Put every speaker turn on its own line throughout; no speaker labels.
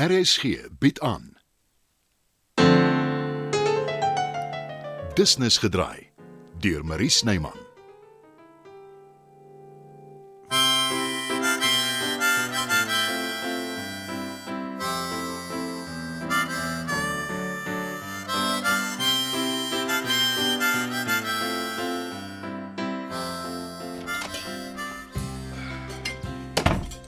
RSG bied aan. Business gedraai deur Marie Snyman.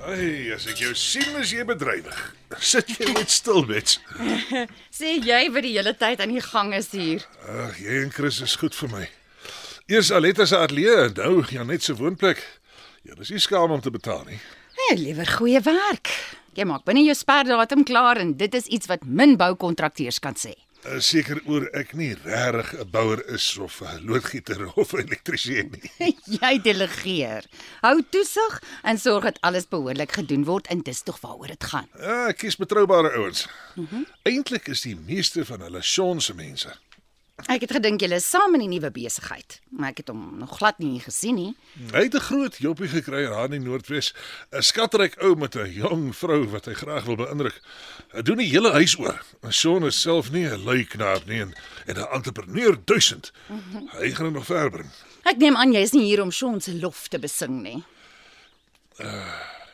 Ai, as ek jou sien is jy bedrywig. Sit jy net stil, Bets.
Sê jy wat die hele tyd aan die gang is hier.
Ag, jy en Chris is goed vir my. Eers Aletta se ateljee en nou ja net se woonplek. Ja, dis nie skaam om te betaal nie.
Nee, liewer goeie werk. Jy maak binne jou sperdatum klaar en dit is iets wat min boukontrakteurs kan sê.
Is Seker oor ek nie regtig 'n bouer is of 'n loodgieter of 'n elektriesien nie.
jy delegeer. Hou toesig en sorg dat alles behoorlik gedoen word en dis tog waaroor dit gaan.
Ah, ek kies betroubare ouens. Eintlik is die meeste van hulle sonse mense.
Ek het gedink julle is saam in die nuwe besigheid, maar ek het hom nog glad nie gesien nie.
Hy het 'n groot joppie gekry daar in die Noordwes, 'n skatryk ou met 'n jong vrou wat hy graag wil beïndruk. Hy doen die hele huis oor. Sean is self nie 'n lui knaap nie en en 'n entrepreneur duisend. Hy gaan hom nog ver bring.
Ek neem aan jy is nie hier om Sean se lof te besing nie.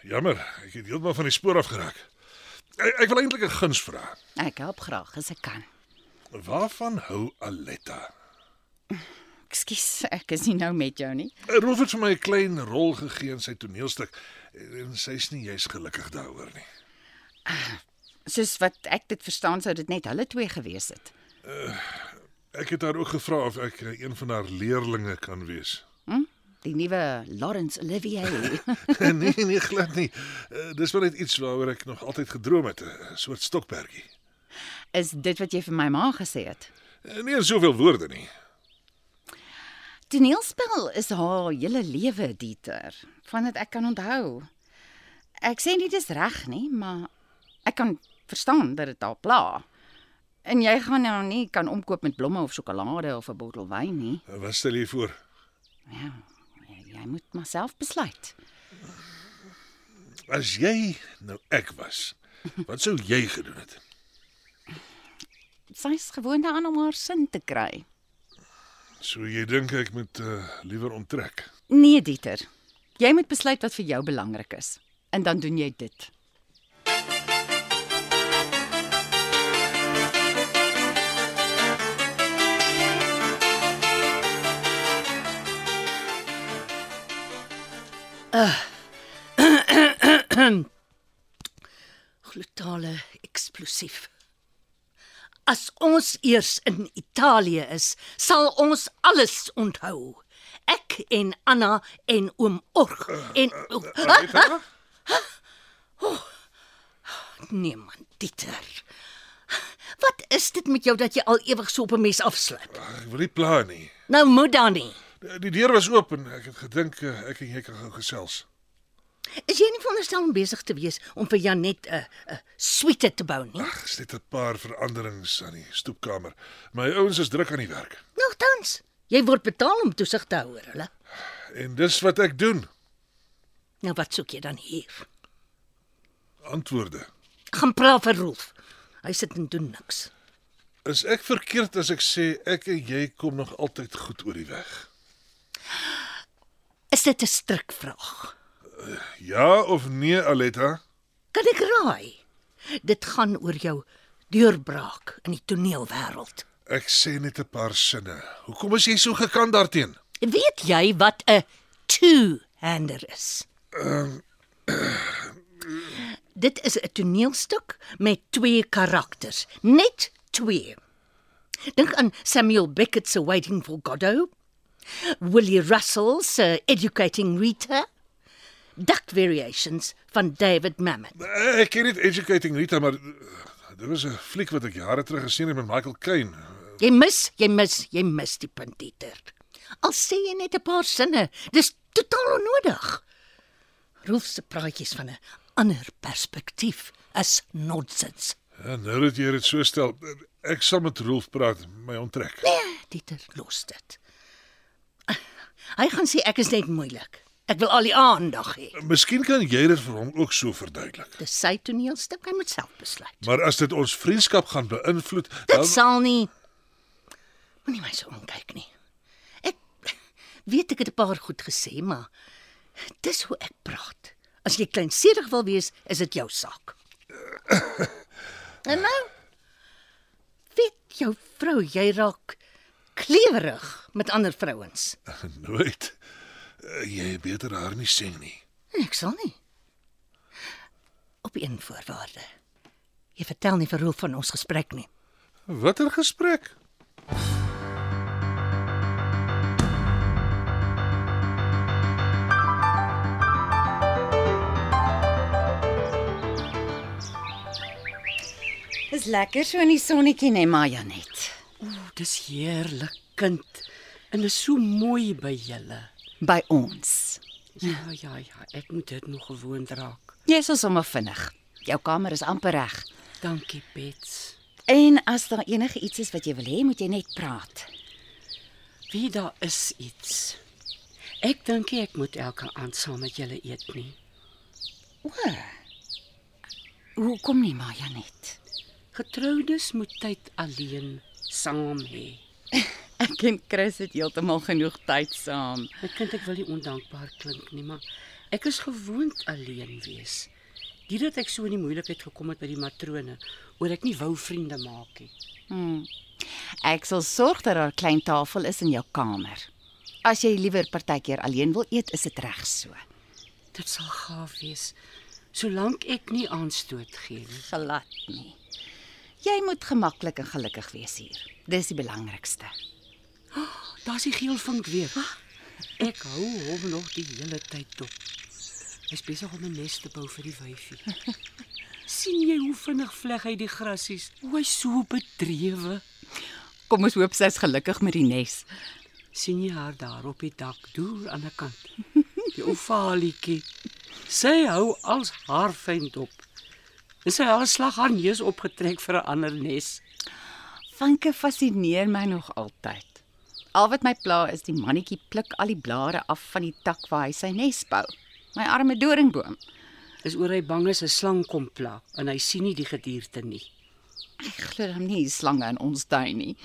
Jammer, ek het heeltemal van die spoor af geraak. Ek, ek wil eintlik 'n guns vra.
Ek help graag as ek kan.
Waarvan hou Aletta?
Ekskuus, ek is nie nou met jou nie.
Rolf het vir my 'n klein rol gegee in sy toneelstuk en sy's nie juis gelukkig daaroor nie.
Soos wat ek dit verstaan sou dit net hulle twee gewees het.
Ek het haar ook gevra of ek eh, een van haar leerlinge kan wees.
Die nuwe Laurence Olivier.
nee, nee, glad nie. Eh, Dis wel net iets waaroor ek nog altyd gedroom het, 'n soort stokperdjie.
is dit wat jy vir my ma gesê het?
Eh, Nie in soveel woorde nie.
Toneelspel is haar hele lewe, Dieter, van dit ek kan onthou. Ek sê nie dis reg nie, maar ek kan verstaan dat dit haar pla. En jy gaan nou nie kan omkoop met blomme of sjokolade of 'n bottel wyn nie.
Eh, Wat stel jy voor?
Ja, jy, jy moet maar self besluit.
As jy nou ek was, wat sou jy gedoen het?
Sy's gewoond daaraan om haar sin te kry.
So jy dink ek moet uh, liewer onttrek.
Nee, Dieter. Jy moet besluit wat vir jou belangrik is en dan doen jy dit.
glutale eksplosief. As ons eers in Italië is, sal ons alles onthou. Ek en Anna en oom Org en oh,
Aletta?
niemand Nee, Dieter. Wat is dit met jou dat jy al ewig so op 'n mes
Ag,
afslip?
Ah, Ek wil nie pla nie.
Nou moet dan nie.
Eh, Die deur was oop en ek het gedink eh, ek en jy kan gou gesels.
Is jy nie veronderstel om besig te wees om vir Janet 'n 'n suite te bou nie?
Ag, is net 'n paar veranderings aan die stoepkamer. My ouens is druk aan die werk.
Nogtans, jy word betaal om toesig te hou oor hulle.
En dis wat ek doen.
Nou wat soek jy dan hier?
Antwoorde.
Gaan praat vir Rolf. Hy sit en doen niks.
Is ek verkeerd as ek sê ek en jy kom nog altyd goed oor die weg?
Is dit 'n strikvraag?
Ja of nee, Aletta?
Kan ek raai? Dit gaan oor jou deurbraak in die toneelwêreld.
Ek sê net 'n paar sinne. Hoekom is jy so gekant daarteen?
Weet jy wat 'n two-hander is? Dit is 'n toneelstuk met twee karakters, net twee. Dink aan Samuel Beckett se Waiting for Godot, Willie Russell se Educating Rita, Duck Variations van David Mamet.
Ek ken dit educating Rita, maar uh, dit was 'n fliek wat ek jare terug gesien het met Michael Caine.
Jy mis, jy mis, jy mis die punt Dieter. Al sê jy net 'n paar sinne, dis totaal onnodig. Rolf se praatjies van 'n ander perspektief is nonsens.
Ja, nou dat jy dit so stel, ek sal met Rolf praat, my onttrek.
Nee, Dieter, los dit. Hy gaan sê ek is net moeilik.
Ek wil al die aandag hê.
Miskien kan jy dit vir hom ook so verduidelik.
Dis sy toneelstuk, hy moet self besluit.
Maar as dit ons vriendskap gaan beïnvloed,
Dit
dan
sal nie Moenie my so aankyk nie. Ek weet ek het 'n paar goed gesê, maar dis hoe ek praat. As jy kleinsedig wil wees, is dit jou saak. en nou weet jou vrou jy raak klewerig met ander vrouens.
nooit Eh, jy beter haar nie sien nie.
Ek sal nie. Op een voorwaarde. Jy vertel nie vir Rolf van ons gesprek nie.
Watter gesprek?
Dis lekker so in die sonnetjie nee, nê, maar Janet.
Dis heerlik, kind. En is so mooi by julle.
By ons.
Ja, ja, ja, ek moet dit nog gewoond raak.
Jy's al sommer vinnig. Jou kamer is amper reg.
Dankie, Bets.
En as daar enige iets is wat jy wil hê, moet jy net praat.
Wie daar is iets. Ek dink nie ek moet elke aand saam met julle eet nie.
O. Hoekom nie, maar Janet?
Getroudes moet tyd alleen saam hê.
Ek en Chris het heeltemal genoeg tyd saam.
Ek kind ek wil nie ondankbaar klink nie, maar ek is gewoond alleen wees. Dit dat ek so in die moeilikheid gekom het by die matrone oor ek nie wou vriende maak nie.
Ek sal sorg dat daar 'n klein tafel is in jou kamer. As jy liewer partykeer alleen wil eet, is dit reg so.
Dit sal gaaf wees solank ek nie aanstoot gee nie.
Glad nie. Jy moet gemaklik en gelukkig wees hier. Dis die belangrikste.
Daar's die geel vink weer. Ek hou hom nog die hele tyd dop. Hy's besig om 'n nes te bou vir die wyfie. sien jy hoe vinnig vleg hy die grasies? Hoe hy so bedrewe.
Kom ons hoop sy's gelukkig met die nes.
sien jy haar daar op die dak deur aan die kant. Die ovalietjie. Sy hou als haar fyn dop. En sy haar slag haar neus opgetrek vir 'n ander nes.
Vanke fascineer my nog altyd. Al wat my pla is die mannetjie pluk al die blare af van die tak waar hy sy nes bou. My arme doringboom.
Is oor hy bang is 'n slang kom pla en hy sien nie die gedierte nie.
Ek glo hom nie die slange in ons tuin nie.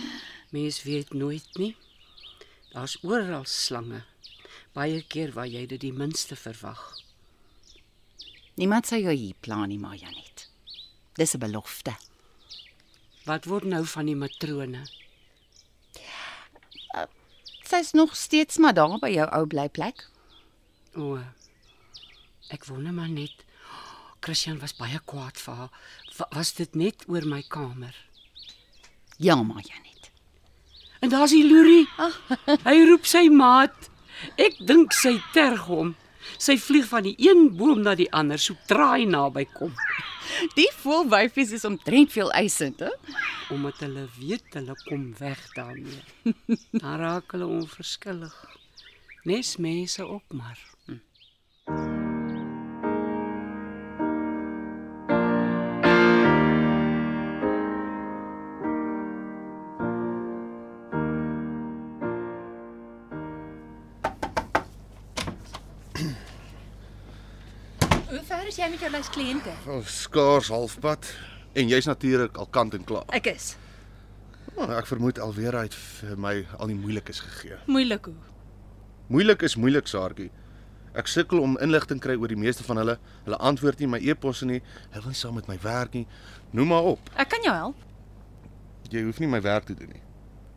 Mens weet nooit nie. Daar's oral slange. Baie keer waar jy dit die minste verwag.
Niemand sou jou hier plan nie, maar Janet. Dis 'n belofte.
Wat word nou van die matrone?
Sy's nog steeds maar daar by jou ou blyplek.
O. Ek wonder maar net. Christian was baie kwaad vir haar. Wa- Was dit net oor my kamer?
Ja, maar Janet.
En daar's die loerie. Hy roep sy maat. Ek dink sy terg hom. Sy vlieg van die een boom na die ander, so traai naby kom,
Die vol wyfies is omtrent veel eisend, hè?
omdat hulle weet hulle kom weg daarmee. Dan raak hulle onverskillig. Nes mense ook maar.
Hoe ver is jy met jou lys kliënte?
Al Oh, skaars halfpad en jy's natuurlik al kant en klaar.
Ek is.
Oh, ek vermoed Alwera het vir my al die moeilikes gegee.
Moeilik hoe.
Moeilik is moeilik, Saartjie. Ek sukkel om inligting kry oor die meeste van hulle. Hulle antwoord nie my e-posse nie. Hulle wil nie saam met my werk nie. Noem maar op.
Ek kan jou help.
Jy hoef nie my werk te doen nie.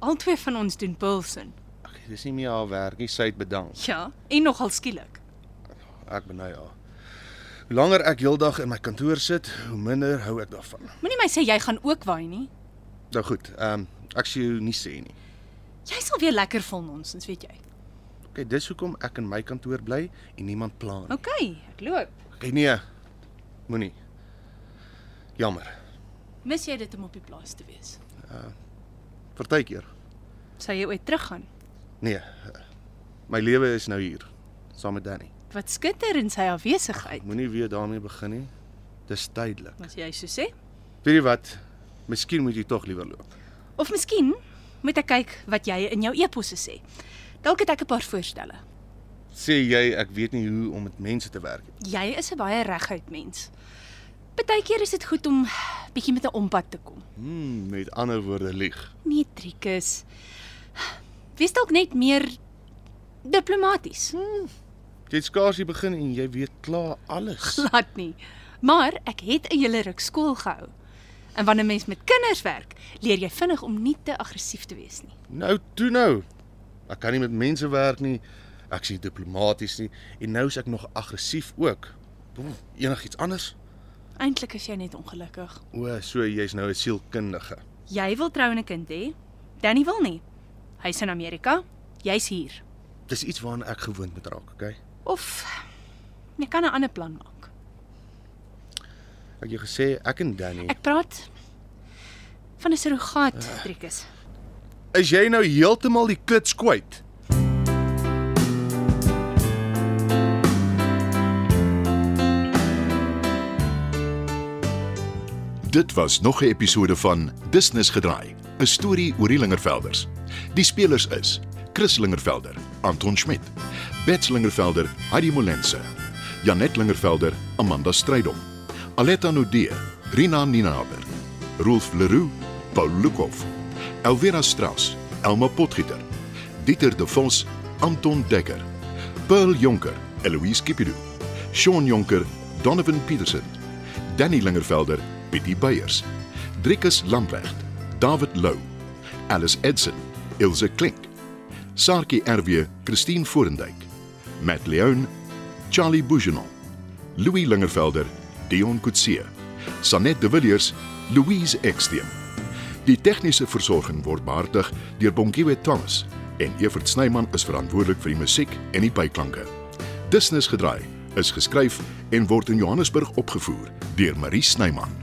Albei van ons doen Wilson.
Ag, dis nie meer haar werk nie. Sy het bedank.
Ja, en nogal skielik.
Ek beny haar. Hoe langer ek heeldag in my kantoor sit, hoe minder hou ek daarvan.
Moenie my sê jy gaan ook waai nie.
Nou goed, ehm um, ek sê jou nie sê nie.
Jy sal weer lekker vol nonsens, weet jy.
Okay, dis hoekom ek in my kantoor bly en niemand plan nie.
OK, ek loop.
Ek nee. Moenie. Jammer.
Mis jy dit om op die plaas te wees?
Partykeer.
Sou jy ooit teruggaan?
Nee. My lewe is nou hier saam met Danny.
Wat skitter in sy afwesigheid.
Moenie weer daarmee begin nie. Dis tydelik.
As jy so sê.
Weet jy wat? Miskien moet jy tog liewer loop.
Of miskien moet ek kyk wat jy in jou e-posse sê. Dalk het ek 'n paar voorstelle.
sê jy ek weet nie hoe om met mense te werk nie.
Jy is 'n baie reguit mens. Partykeer is dit goed om bietjie met 'n ompad te kom.
Hmm, met ander woorde lieg.
Nee, Trikus. Wees dalk net meer diplomaties.
Jy het skaars hier begin en jy weet klaar alles.
Laat nie. Maar ek het 'n hele ruk skool gehou. En wanneer mens met kinders werk, leer jy vinnig om nie te aggressief te wees nie.
Nou toe nou. Ek kan nie met mense werk nie. Ek is nie diplomaties nie en nou is ek nog aggressief ook. Boef, Enigiets anders?
Eintlik is jy net ongelukkig.
O, so jy's nou 'n sielkundige.
Jy wil trou en 'n kind hê. Danny wil nie. Hy's in Amerika. Jy's hier.
Dis iets waaraan ek gewoond moet raak, okay?
Of jy kan 'n ander plan maak.
Ek het jou gesê ek en Danny.
Ek praat van 'n surrogaat, Trikus.
Is jy nou heeltemal die klits kwyt?
Dit was nog 'n episode van Business gedraai, 'n storie oor die Lingervelders. Die spelers is Chris Lingervelder, Anton Schmidt, Bets Lingervelder, Heidi Molense, Janet Lingervelder, Amanda Strydom, Aletta Nudee, Rina Ninaber, Rolf Leroux, Paul Lukhof, Elvira Strauss, Elma Potgieter, Dieter De Vos, Anton Dekker, Pearl Jonker, Eloise Kipidu, Sean Jonker, Donovan Petersen, Danny Lingervelder, Pietie Beyers, Driekus Lamprecht, David Lou, Alice Edson, Ilse Klink, Saartjie RW, Christine Forendyk, Matt Leon, Charlie Bougenon, Louis Lingervelder, Dion Coetzee, Sanet de Villiers, Louise Eksteen. Die tegniese versorging word behartig deur Bongiwet Thomas en Evert Snyman is verantwoordelik vir die musiek en die byklanke. Business gedraai is geskryf en word in Johannesburg opgevoer deur Marie Snyman.